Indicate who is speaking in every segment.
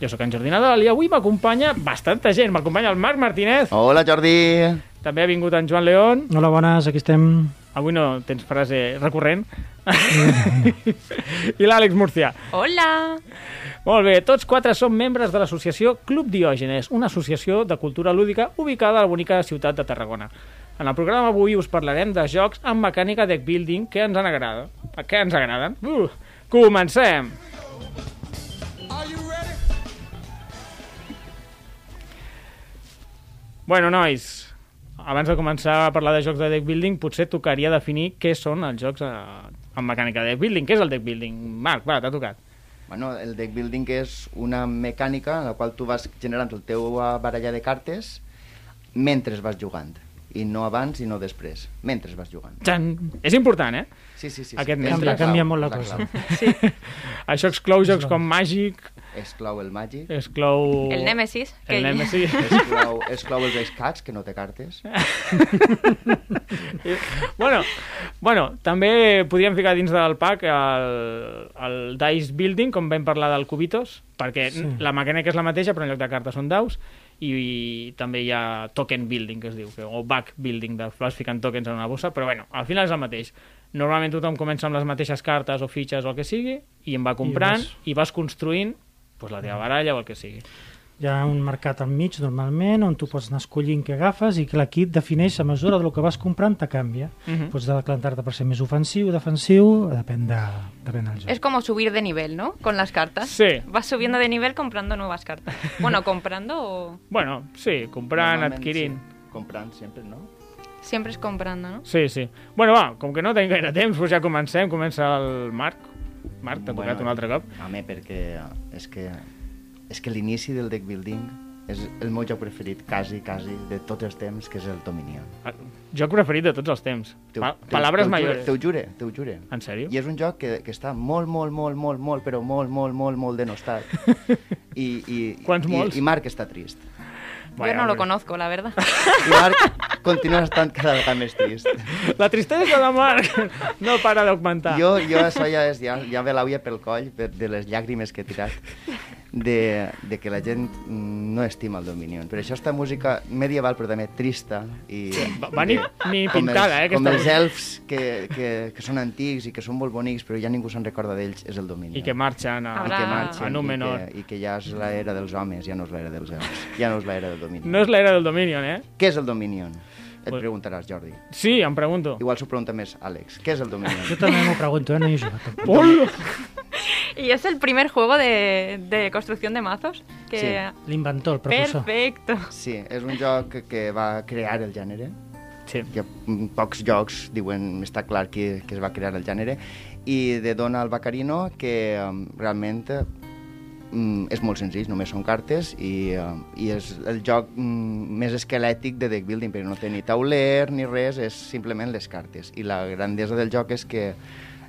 Speaker 1: Jo sóc en Jordi Nadal i avui m'acompanya bastanta gent. M'acompanya el Marc Martínez,
Speaker 2: Hola, Jordi!
Speaker 1: també ha vingut en Joan León.
Speaker 3: Hola, bones, aquí estem.
Speaker 1: Avui no tens frase recurrent. I l'Àlex Murcia.
Speaker 4: Hola!
Speaker 1: Molt bé, tots quatre som membres de l'associació Club Diògenes, una associació de cultura lúdica ubicada a la bonica ciutat de Tarragona. En el programa avui us parlarem de jocs amb mecànica deck building que ens han agradat. Que ens agraden. Uh, comencem! Bueno, nois, abans de començar a parlar de jocs de deck building, potser tocaria definir què són els jocs eh, amb mecànica de deck building. Què és el deck building? Marc, va, t'ha tocat.
Speaker 2: Bueno, el deck building és una mecànica en la qual tu vas generant el teu eh, baralla de cartes mentre vas jugant. I no abans i no després, mentre vas jugant.
Speaker 1: Txan! És important, eh?
Speaker 2: Sí, sí, sí.
Speaker 1: Aquest
Speaker 2: sí.
Speaker 1: mentre.
Speaker 2: És
Speaker 3: Canvia
Speaker 2: clau,
Speaker 3: molt la
Speaker 2: és
Speaker 3: cosa.
Speaker 2: clau.
Speaker 1: Això exclou jocs com Magic,
Speaker 2: És clau el màgic,
Speaker 1: exclou...
Speaker 4: El Nemesis.
Speaker 1: El Nemesis.
Speaker 2: és clau, és clau els escats, que no té cartes.
Speaker 1: bueno, bueno, també podríem ficar dins del pack el, el Dice Building, com vam parlar del Cubitos, perquè sí. la mecànica és la mateixa, però en lloc de cartes són daus, i, i també hi ha Token Building, que es diu, que, o Back Building, de vas ficant tokens en una bossa, però bueno, al final és el mateix. Normalment tothom comença amb les mateixes cartes o fitxes o el que sigui, i en va comprant, I vas,
Speaker 3: vas-
Speaker 1: Mm. i vas construint pues, la teva baralla o el que sigui.
Speaker 3: Hi ha un mercat al mig, normalment, on tu pots anar escollint què agafes i que l'equip defineix a mesura del que vas comprant te canvia.
Speaker 1: Mhm.
Speaker 3: Pots decantar-te per ser més ofensiu, defensiu, depèn, de, depèn del joc.
Speaker 4: Es como subir de nivel, ¿no? Con las cartas.
Speaker 1: Sí.
Speaker 4: Vas subiendo de nivel comprando nuevas cartas. Bueno, comprando o...
Speaker 1: Bueno, sí, comprant,
Speaker 2: Normalment,
Speaker 1: adquirint...
Speaker 2: Sí, comprant sempre, no?
Speaker 4: Siempre es comprando, ¿no?
Speaker 1: Sí, sí. Bueno, va, com que no tenim gaire temps, doncs ja comencem. Comença el Marc. Marc, t'ha tocat
Speaker 2: eh.
Speaker 1: un altre cop.
Speaker 2: Home, perquè és que, és que l'inici del deck building és el meu joc preferit, quasi, quasi, de tots els temps, que és el Dominion.
Speaker 1: Joc Ah, preferit de tots els temps. Pa Palabres mayores.
Speaker 2: Te ho jure, te ho jure.
Speaker 1: En sèrio?
Speaker 2: I és un joc que, que està molt, molt, molt, molt, molt, però molt, molt, molt, molt denostat. I, i,
Speaker 1: Quants
Speaker 2: i,
Speaker 1: molts?
Speaker 2: I Marc està trist.
Speaker 4: Yo no lo conozco, la verdad.
Speaker 2: I Marc continua estant cada vegada més trist.
Speaker 1: La tristesa de Marc no para d'augmentar.
Speaker 2: Jo, jo això ja, és, ja, ja ve l'àvia pel coll, per, de les llàgrimes que he tirat, de, de que la gent mm, no estima el Dominion. Però això està música medieval, però també trista. I,
Speaker 1: va- va ni-
Speaker 2: i-
Speaker 1: ni
Speaker 2: com
Speaker 1: pintada, eh,
Speaker 2: els, Com
Speaker 1: aquesta
Speaker 2: els
Speaker 1: música.
Speaker 2: elfs que, que, que són antics i que són molt bonics, però ja ningú se'n recorda d'ells, és el Dominion.
Speaker 1: I que marxen a,
Speaker 2: I
Speaker 4: Habrá-
Speaker 2: que
Speaker 4: Ah.
Speaker 2: marxen,
Speaker 1: a Númenor.
Speaker 2: I, que, i que ja és l'era dels homes, ja no és l'era dels elfs, ja no és l'era del Dominion.
Speaker 1: No és l'era del Dominion, eh?
Speaker 2: Què és el Dominion? Et
Speaker 1: Pues-
Speaker 2: preguntaràs, Jordi.
Speaker 1: Sí, em pregunto.
Speaker 2: Igual s'ho pregunta més Àlex. Què és el
Speaker 3: Jo
Speaker 2: Dominion?
Speaker 3: també m'ho pregunto, eh? no hi he jugat tampoc.
Speaker 1: Hola!
Speaker 4: Y es el primer juego de, de construcción de mazos que...
Speaker 2: Sí.
Speaker 3: L'inventor, el professor.
Speaker 4: Perfecto.
Speaker 2: Sí, és un joc que va crear el gènere.
Speaker 1: Sí.
Speaker 2: Hi ha mm, pocs jocs, diuen, està clar que, que es va crear el gènere. I de Donald Baccarino, que em, realment mm, és molt senzill, només són cartes i, em, i és el joc mm, més esquelètic de deck building, perquè no té ni tauler ni res, és simplement les cartes. I la grandesa del joc és que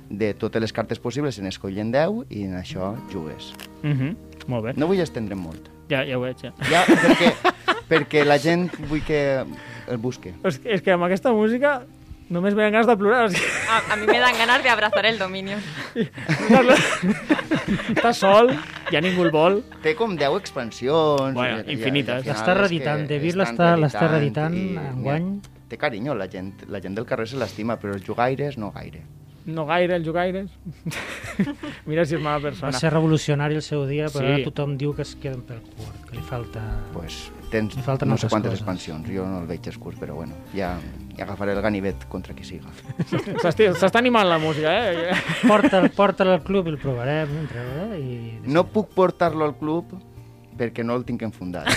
Speaker 2: de totes les cartes possibles se n'escollen 10 i en això jugues.
Speaker 1: Mm -hmm. Molt bé.
Speaker 2: No vull estendre molt.
Speaker 1: Ja, ja ho veig, ja.
Speaker 2: Ja, perquè, perquè la gent vull que el busque.
Speaker 1: És, és que amb aquesta música només me dan ganes de plorar. o sigui.
Speaker 4: A, a mí me dan ganas de abrazar el dominio.
Speaker 1: Està sol, ja ningú el vol.
Speaker 2: Té com 10 expansions.
Speaker 1: Bueno,
Speaker 2: i- i- i
Speaker 1: infinites.
Speaker 2: al final
Speaker 3: L'està
Speaker 2: és que
Speaker 3: reeditant, De Vir
Speaker 2: estan
Speaker 3: l'està- l'està
Speaker 2: reeditant
Speaker 3: reeditant
Speaker 2: i-
Speaker 3: enguany.
Speaker 2: Té carinyo, la gent, la gent del carrer se l'estima, però els jugaires no gaire.
Speaker 1: No gaire, el jugaires. Mira si és mala persona.
Speaker 3: Va ser revolucionari el seu dia, però
Speaker 1: Sí.
Speaker 3: sí. ara tothom diu que es queden pel curt, que li falta...
Speaker 2: Pues, tens
Speaker 3: Li falten
Speaker 2: no sé
Speaker 3: altres
Speaker 2: quantes
Speaker 3: coses.
Speaker 2: expansions, jo no el veig escurt, però bueno, ja, ja agafaré el ganivet contra qui siga.
Speaker 1: S'esti- S'està animant la música, eh?
Speaker 3: Porta'l porta al club i el provarem. Entre, eh? I...
Speaker 2: No puc portar-lo al club perquè no el tinc enfundat.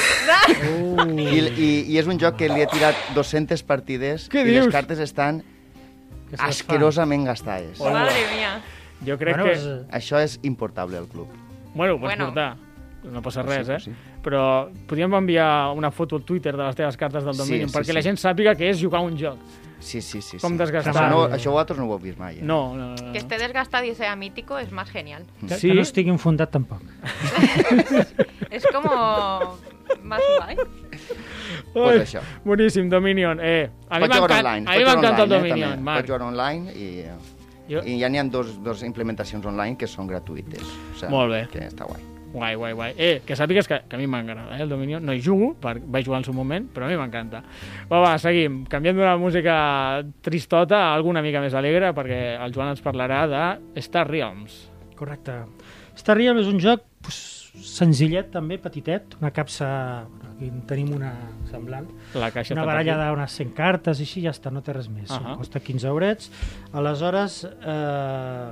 Speaker 3: Uh,
Speaker 2: I, i, I és un joc que li he tirat 200 partides
Speaker 1: Què
Speaker 2: i les
Speaker 1: dius?
Speaker 2: cartes estan
Speaker 3: que se'ls fa.
Speaker 2: asquerosament gastades.
Speaker 1: Hola.
Speaker 4: Madre mía.
Speaker 1: Jo crec
Speaker 3: bueno,
Speaker 1: que...
Speaker 3: és-
Speaker 2: Això és importable al club.
Speaker 1: Bueno, ho pots
Speaker 4: Bueno.
Speaker 1: portar. no passa res,
Speaker 2: Sí,
Speaker 1: eh?
Speaker 2: sí.
Speaker 1: Però podríem enviar una foto al Twitter de les teves cartes del
Speaker 2: Sí,
Speaker 1: Dominion
Speaker 2: sí,
Speaker 1: perquè
Speaker 2: sí.
Speaker 1: la gent sàpiga que és jugar a un joc.
Speaker 2: Sí, sí, sí.
Speaker 1: Com
Speaker 2: sí.
Speaker 1: desgastar.
Speaker 2: Això, no, això vosaltres no ho heu vist mai, eh?
Speaker 1: No, no, no. no.
Speaker 4: Que esté desgastado y sea mítico es más genial.
Speaker 3: Que,
Speaker 1: Sí.
Speaker 3: que no estigui infundat tampoc.
Speaker 4: Es como más guay.
Speaker 2: Pues
Speaker 1: Ai,
Speaker 2: això.
Speaker 1: Boníssim, Dominion. Eh, a mi
Speaker 2: Pots jugar
Speaker 1: m'encanta a
Speaker 2: online.
Speaker 1: mi
Speaker 2: pots jugar
Speaker 1: m'encanta el
Speaker 2: online, eh,
Speaker 1: Dominion,
Speaker 2: també.
Speaker 1: Marc.
Speaker 2: Pots jugar online i, eh,
Speaker 1: Jo...
Speaker 2: i ja n'hi ha dos, dos implementacions online que són gratuïtes. O sigui,
Speaker 1: Molt bé.
Speaker 2: Que està guai.
Speaker 1: Guai, guai, guai. Eh, que sàpigues que, que a mi m'agrada, eh, el Dominion. No hi jugo, per, vaig jugar en el seu moment, però a mi m'encanta. Va, va, seguim. Canviem d'una música tristota a alguna mica més alegre, perquè el Joan ens parlarà de Star Realms.
Speaker 3: Correcte. Star Realm és un joc pues, senzillet també, petitet, una capsa, aquí en tenim una semblant,
Speaker 1: La caixa
Speaker 3: una
Speaker 1: està
Speaker 3: baralla
Speaker 1: per aquí.
Speaker 3: d'unes 100 cartes i així ja està, no té res més, uh
Speaker 1: Ahà.
Speaker 3: -huh. costa 15 eurets. Aleshores, eh,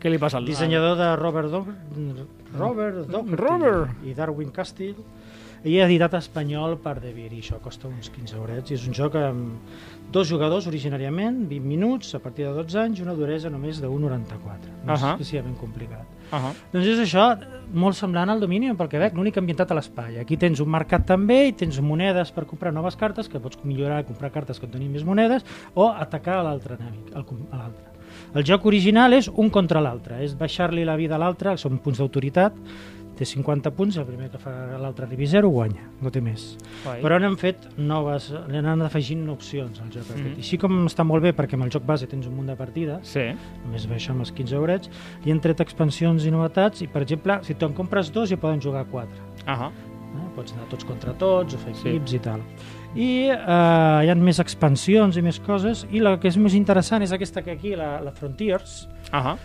Speaker 1: Què li passa al...
Speaker 3: dissenyador de Robert Dog Robert Doherty
Speaker 1: Mm. Robert.
Speaker 3: i Darwin Castile i editat a espanyol per Devir i això costa uns 15 eurets i és un joc amb dos jugadors originàriament 20 minuts a partir de 12 anys i una duresa només de 1,94 no és
Speaker 1: Ahà.
Speaker 3: especialment complicat
Speaker 1: Ah, ah.
Speaker 3: doncs és això, molt semblant al Dominion pel Quebec, l'únic ambientat a l'espai. Aquí tens un mercat també i tens monedes per comprar noves cartes, que pots millorar, comprar cartes que et donin més monedes, o atacar a l'altre enemic, al com- a l'altre. El joc original és un contra l'altre, és baixar-li la vida a l'altre, són punts d'autoritat, té 50 punts, el primer que fa l'altre arribi a 0 guanya, no té més.
Speaker 1: Guai.
Speaker 3: Però n'han fet noves, n'han afegint opcions al joc. Mm
Speaker 1: Mhm.
Speaker 3: -hmm. Així com està molt bé, perquè amb el joc base tens un munt de partides,
Speaker 1: Sí.
Speaker 3: només va això amb els 15 eurets, i han tret expansions i novetats, i per exemple, si te'n compres dos ja poden jugar quatre.
Speaker 1: Ah, ah.
Speaker 3: Eh? Pots anar tots contra tots, o fer
Speaker 1: Sí.
Speaker 3: equips sí. i tal. I eh, hi ha més expansions i més coses, i la que és més interessant és aquesta que aquí, la, la Frontiers,
Speaker 1: Ah, ah.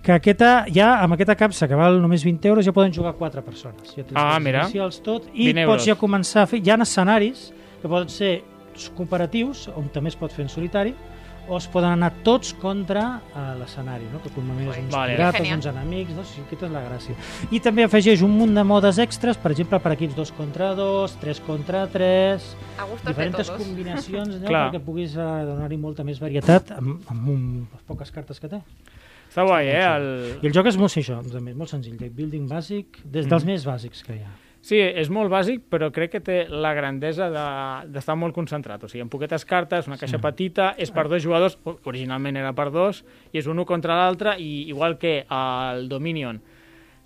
Speaker 3: que aquesta, ja amb aquesta capsa que val només 20 euros ja poden jugar 4 persones ja tens
Speaker 1: Ah,
Speaker 3: els
Speaker 1: mira.
Speaker 3: inicials tot i
Speaker 1: 20 euros.
Speaker 3: pots ja començar a fer, hi ha escenaris que poden ser cooperatius on també es pot fer en solitari o es poden anar tots contra eh, l'escenari, no? que normalment és uns
Speaker 1: Vale.
Speaker 3: vale. pirates,
Speaker 4: Genial.
Speaker 3: uns enemics, no? sí, aquesta és la gràcia. I també afegeix un munt de modes extres, per exemple, per equips 2 contra 2, 3 contra 3,
Speaker 4: A gustos de
Speaker 3: diferents
Speaker 4: todos.
Speaker 3: combinacions allò,
Speaker 1: Clar.
Speaker 3: perquè puguis eh, donar-hi molta més varietat amb, amb un, les poques cartes que té.
Speaker 1: Està guai, eh?
Speaker 3: I
Speaker 1: El...
Speaker 3: el joc és molt, sí, això, doncs, també, molt senzill, deck building bàsic, des dels
Speaker 1: Mhm.
Speaker 3: més bàsics que hi ha.
Speaker 1: Sí, és molt bàsic, però crec que té la grandesa de- d'estar de, molt concentrat. O sigui, amb poquetes cartes, una caixa sí. petita, és per dos jugadors, o- originalment era per dos, i és un un contra l'altre, i igual que al Dominion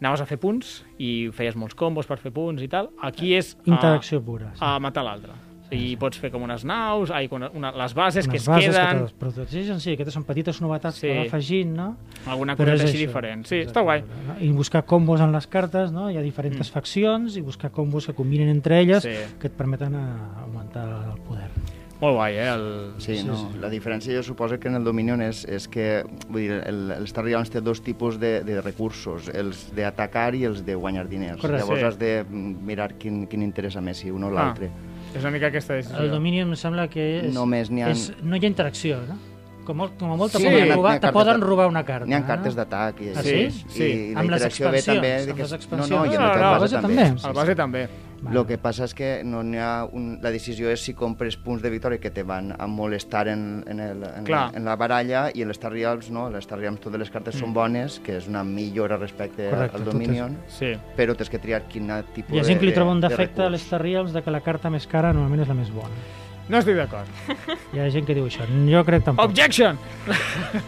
Speaker 1: anaves a fer punts i feies molts combos per fer punts i tal, aquí és a-
Speaker 3: Interacció pura. Sí.
Speaker 1: a, matar l'altre. I pots fer com unes naus, ai, una, una, les bases que
Speaker 3: Unes
Speaker 1: es
Speaker 3: bases
Speaker 1: queden...
Speaker 3: Que protegeixen, sí, aquestes són petites novetats
Speaker 1: Sí.
Speaker 3: sí. que va afegint, no?
Speaker 1: Alguna cosa
Speaker 3: Però és
Speaker 1: així
Speaker 3: això.
Speaker 1: diferent. Sí,
Speaker 3: Exacte.
Speaker 1: està guai.
Speaker 3: I buscar combos en les cartes, no? Hi ha diferents mm. faccions i buscar combos que combinen entre elles
Speaker 1: Sí.
Speaker 3: sí. que et permeten eh, augmentar el poder.
Speaker 1: Molt guai, eh? El...
Speaker 2: Sí,
Speaker 3: Sí,
Speaker 2: no,
Speaker 3: sí.
Speaker 2: la diferència jo suposo que en el Dominion és, és que vull dir, el, el Star Realms té dos tipus de, de recursos, els d'atacar i els de guanyar diners.
Speaker 3: Correcte.
Speaker 2: Llavors
Speaker 1: Sí. Ah.
Speaker 2: has de mm, mirar quin, quin interessa més, si un o l'altre.
Speaker 1: És una mica aquesta decisió.
Speaker 3: El Dominion em sembla que és,
Speaker 2: Només n'hi ha-
Speaker 3: és, no hi ha interacció, no? Com, molt- com a molt te
Speaker 1: Sí. N'hi
Speaker 3: poden
Speaker 1: ha-
Speaker 3: robar,
Speaker 2: n'hi ha
Speaker 3: te
Speaker 2: cartes
Speaker 3: poden
Speaker 2: de-
Speaker 3: robar una carta.
Speaker 2: N'hi ha
Speaker 3: no?
Speaker 2: cartes d'atac i,
Speaker 3: Ah,
Speaker 2: així.
Speaker 1: sí?
Speaker 2: i,
Speaker 1: Sí.
Speaker 2: la
Speaker 3: Amb les
Speaker 2: interacció ve
Speaker 3: expansions,
Speaker 2: també...
Speaker 3: amb
Speaker 2: de que-
Speaker 3: les
Speaker 2: No, no, i
Speaker 3: expansions.
Speaker 1: No, no,
Speaker 2: amb no,
Speaker 1: la
Speaker 2: base també.
Speaker 3: base Ah, també.
Speaker 1: El base també.
Speaker 3: Vale.
Speaker 2: Lo que passa és que no n'hi ha un, la decisió és si compres punts de victòria que te van a molestar en, en, el, en, la,
Speaker 1: Clar.
Speaker 2: en la baralla i en les Realms no, les Star Realms totes les cartes mm. són bones, que és una millora respecte
Speaker 3: Correcte,
Speaker 2: Correcte, al
Speaker 3: totes.
Speaker 2: Dominion,
Speaker 1: Sí.
Speaker 2: però tens que triar quin tipus
Speaker 3: Hi ha gent que li
Speaker 2: de-
Speaker 3: troba un
Speaker 2: de
Speaker 3: defecte a
Speaker 2: recurs.
Speaker 3: les Star Realms de que la carta més cara normalment és la més bona.
Speaker 1: No estic d'acord.
Speaker 3: Hi ha gent que diu això. Jo crec tampoc.
Speaker 1: Objection!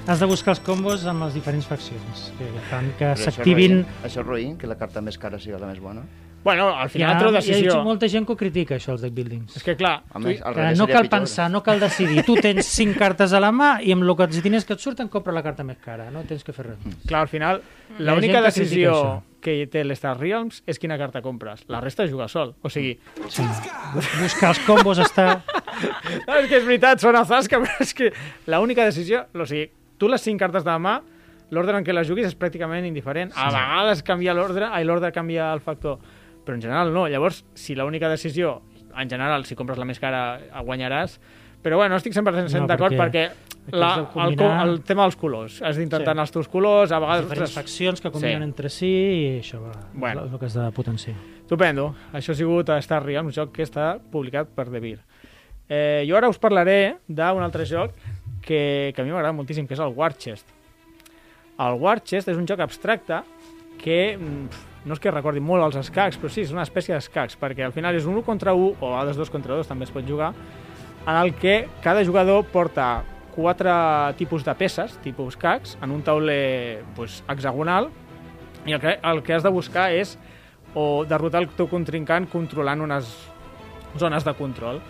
Speaker 3: Has de buscar els combos amb les diferents faccions. Que fan que
Speaker 2: Però això és
Speaker 3: s'activin...
Speaker 2: roïn. Això és roïn, que la carta més cara sigui la més bona.
Speaker 1: Bueno, al final treu
Speaker 3: hi
Speaker 1: decisió.
Speaker 3: ha molta gent que ho critica, això, els deck buildings.
Speaker 1: És que clar,
Speaker 2: A
Speaker 1: tu...
Speaker 2: més, al
Speaker 3: Que
Speaker 2: revés
Speaker 3: no
Speaker 2: seria
Speaker 3: cal
Speaker 2: pitjor. eh?
Speaker 3: pensar, no cal decidir. Tu tens cinc cartes a la mà i amb el que els diners que et surten compra la carta més cara. No tens que fer res. més.
Speaker 1: clar, al final,
Speaker 3: Hi ha gent
Speaker 1: l'única
Speaker 3: que critica
Speaker 1: decisió
Speaker 3: això.
Speaker 1: que té l'Star Realms és quina carta compres. La resta és jugar sol. O sigui,
Speaker 3: Sí. Buscar els combos està...
Speaker 1: no, Ah, és que és veritat, són azars, que, però és que l'única decisió... O sigui, tu les cinc cartes de la mà, l'ordre en què les juguis és pràcticament indiferent. A vegades canvia l'ordre, ai, l'ordre canvia el factor. Però en general no. Llavors, si l'única decisió, en general, si compres la més cara, guanyaràs. Però bueno, no estic 100%
Speaker 3: No,
Speaker 1: d'acord perquè,
Speaker 3: perquè
Speaker 1: la,
Speaker 3: aquí has
Speaker 1: el,
Speaker 3: de
Speaker 1: co-
Speaker 3: combinar-
Speaker 1: el tema dels colors. Has d'intentar
Speaker 3: Sí.
Speaker 1: anar els teus colors, a vegades...
Speaker 3: Diferents
Speaker 1: ostres,
Speaker 3: faccions que combinen
Speaker 1: Sí.
Speaker 3: entre si i això va,
Speaker 1: Bueno.
Speaker 3: és el que has de potenciar.
Speaker 1: Estupendo. Això ha sigut a Star Realm, un joc que està publicat per Devir. Eh, jo ara us parlaré d'un altre joc que, que a mi m'agrada moltíssim, que és el War Chest. El War Chest és un joc abstracte que mm, pf, no és que recordi molt els escacs, però sí, és una espècie d'escacs, perquè al final és un 1 contra 1, o a vegades 2 contra 2 també es pot jugar, en el que cada jugador porta quatre tipus de peces, tipus cacs, en un tauler pues, hexagonal, i el que, el que has de buscar és o derrotar el teu contrincant controlant unes zones de control.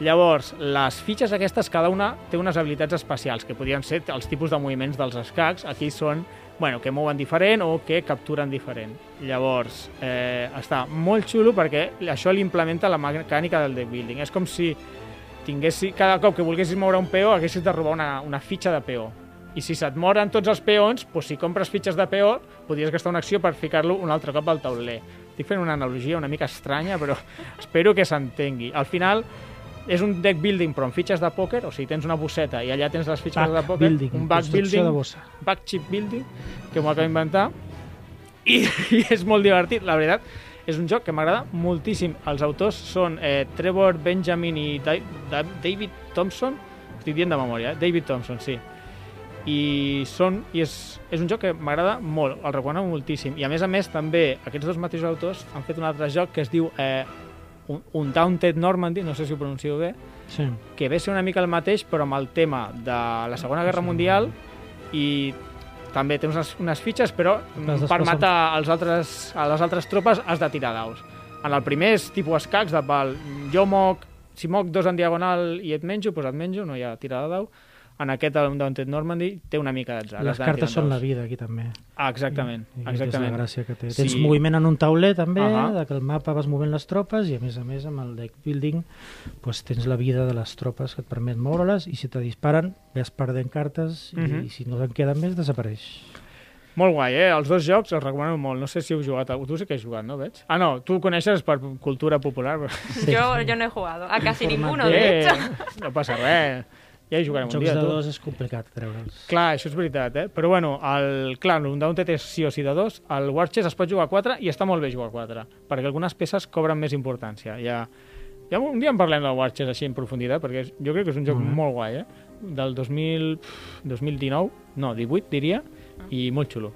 Speaker 1: Llavors, les fitxes aquestes, cada una té unes habilitats especials, que podrien ser els tipus de moviments dels escacs. Aquí són bueno, que mouen diferent o que capturen diferent. Llavors, eh, està molt xulo perquè això l'implementa la mecànica del deck building. És com si tinguessis, cada cop que volguessis moure un peó, haguessis de robar una, una fitxa de peó. I si se't moren tots els peons, doncs si compres fitxes de peó, podries gastar una acció per ficar-lo un altre cop al tauler. Estic fent una analogia una mica estranya, però espero que s'entengui. Al final, és un deck building, però amb fitxes de pòquer, o sigui, tens una bosseta i allà tens les fitxes
Speaker 3: Back
Speaker 1: de pòquer,
Speaker 3: building,
Speaker 1: un back
Speaker 3: construcció
Speaker 1: building,
Speaker 3: de bossa.
Speaker 1: back chip building, que m'ho acabo d'inventar, i, i és molt divertit, la veritat. És un joc que m'agrada moltíssim. Els autors són eh, Trevor Benjamin i Da- Da- David Thompson, estic dient de memòria, eh? David Thompson, sí. I, són, i és, és un joc que m'agrada molt, el recomano moltíssim. I a més a més, també, aquests dos mateixos autors han fet un altre joc que es diu eh, un, un Daunted Normandy, no sé si ho pronuncio bé,
Speaker 3: Sí.
Speaker 1: que ve a ser una mica el mateix però amb el tema de la Segona Guerra Mundial i també tens unes, unes fitxes però
Speaker 3: Les
Speaker 1: mm, per
Speaker 3: desplaçant.
Speaker 1: matar els altres, a les altres tropes has de tirar daus. En el primer és tipus escacs de pal, jo moc, si moc dos en diagonal i et menjo, doncs et menjo, no hi ha tirada de dau. En aquest, el Daunted Normandy, té una mica d'atzar. has
Speaker 3: Les
Speaker 1: de tirar
Speaker 3: cartes són la
Speaker 1: daus.
Speaker 3: vida, aquí també.
Speaker 1: Ah, exactament,
Speaker 3: I aquesta És la
Speaker 1: exactament.
Speaker 3: gràcia que té. Tens
Speaker 1: Sí.
Speaker 3: moviment en un tauler, també,
Speaker 1: Ahà.
Speaker 3: de que el mapa vas movent les tropes i, a més a més, amb el deck building doncs, tens la vida de les tropes que et permet moure-les i si te disparen vas perdent cartes i,
Speaker 1: Mhm.
Speaker 3: i si no te'n queden més, desapareix.
Speaker 1: Molt guai, eh? Els dos jocs els recomano molt. No sé si heu jugat... Tu sí que has jugat, no? Veig. Ah, no, tu ho coneixes per cultura popular, però...
Speaker 3: Sí.
Speaker 4: Yo, yo no he jugado a casi
Speaker 3: Format
Speaker 4: ninguno,
Speaker 3: de-
Speaker 4: de hecho.
Speaker 1: no passa res. Ja hi jugarem un
Speaker 3: Jocs
Speaker 1: dia,
Speaker 3: de
Speaker 1: tu.
Speaker 3: dos és complicat treure'ls.
Speaker 1: Clar, això és veritat, eh? Però bueno, el, clar, un Daunted és sí o sí de dos, el War Chess es pot jugar a quatre i està molt bé jugar a quatre, perquè algunes peces cobren més importància. Ja, ja un dia en parlem del War Chess així en profunditat, perquè és- jo crec que és un joc
Speaker 3: Molt bé.
Speaker 1: molt guai, eh? Del 2000, pf, 2019, no, 18, diria, i molt xulo.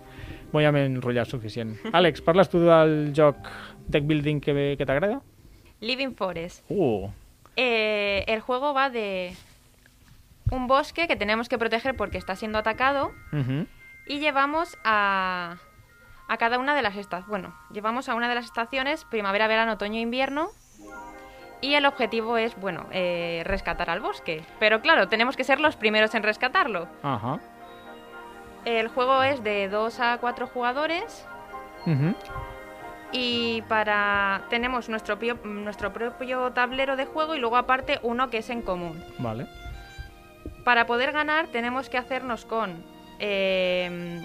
Speaker 1: Bo, ja m'he enrotllat suficient. Àlex, parles tu del joc deck building que, que t'agrada?
Speaker 4: Living Forest.
Speaker 1: Uh,
Speaker 4: Eh, el juego va de un bosque que tenemos que proteger porque está siendo atacado
Speaker 1: uh -huh.
Speaker 4: y llevamos a, a cada una de las estaciones. Bueno, llevamos a una de las estaciones, primavera, verano, otoño, invierno. Y el objetivo es, bueno, eh, rescatar al bosque. Pero claro, tenemos que ser los primeros en rescatarlo.
Speaker 1: Ajá.
Speaker 4: El juego es de 2 a 4 jugadores
Speaker 1: Uh -huh.
Speaker 4: y para tenemos nuestro, pio- nuestro propio tablero de juego y luego aparte uno que es en común.
Speaker 1: Vale.
Speaker 4: Para poder ganar tenemos que hacernos con eh,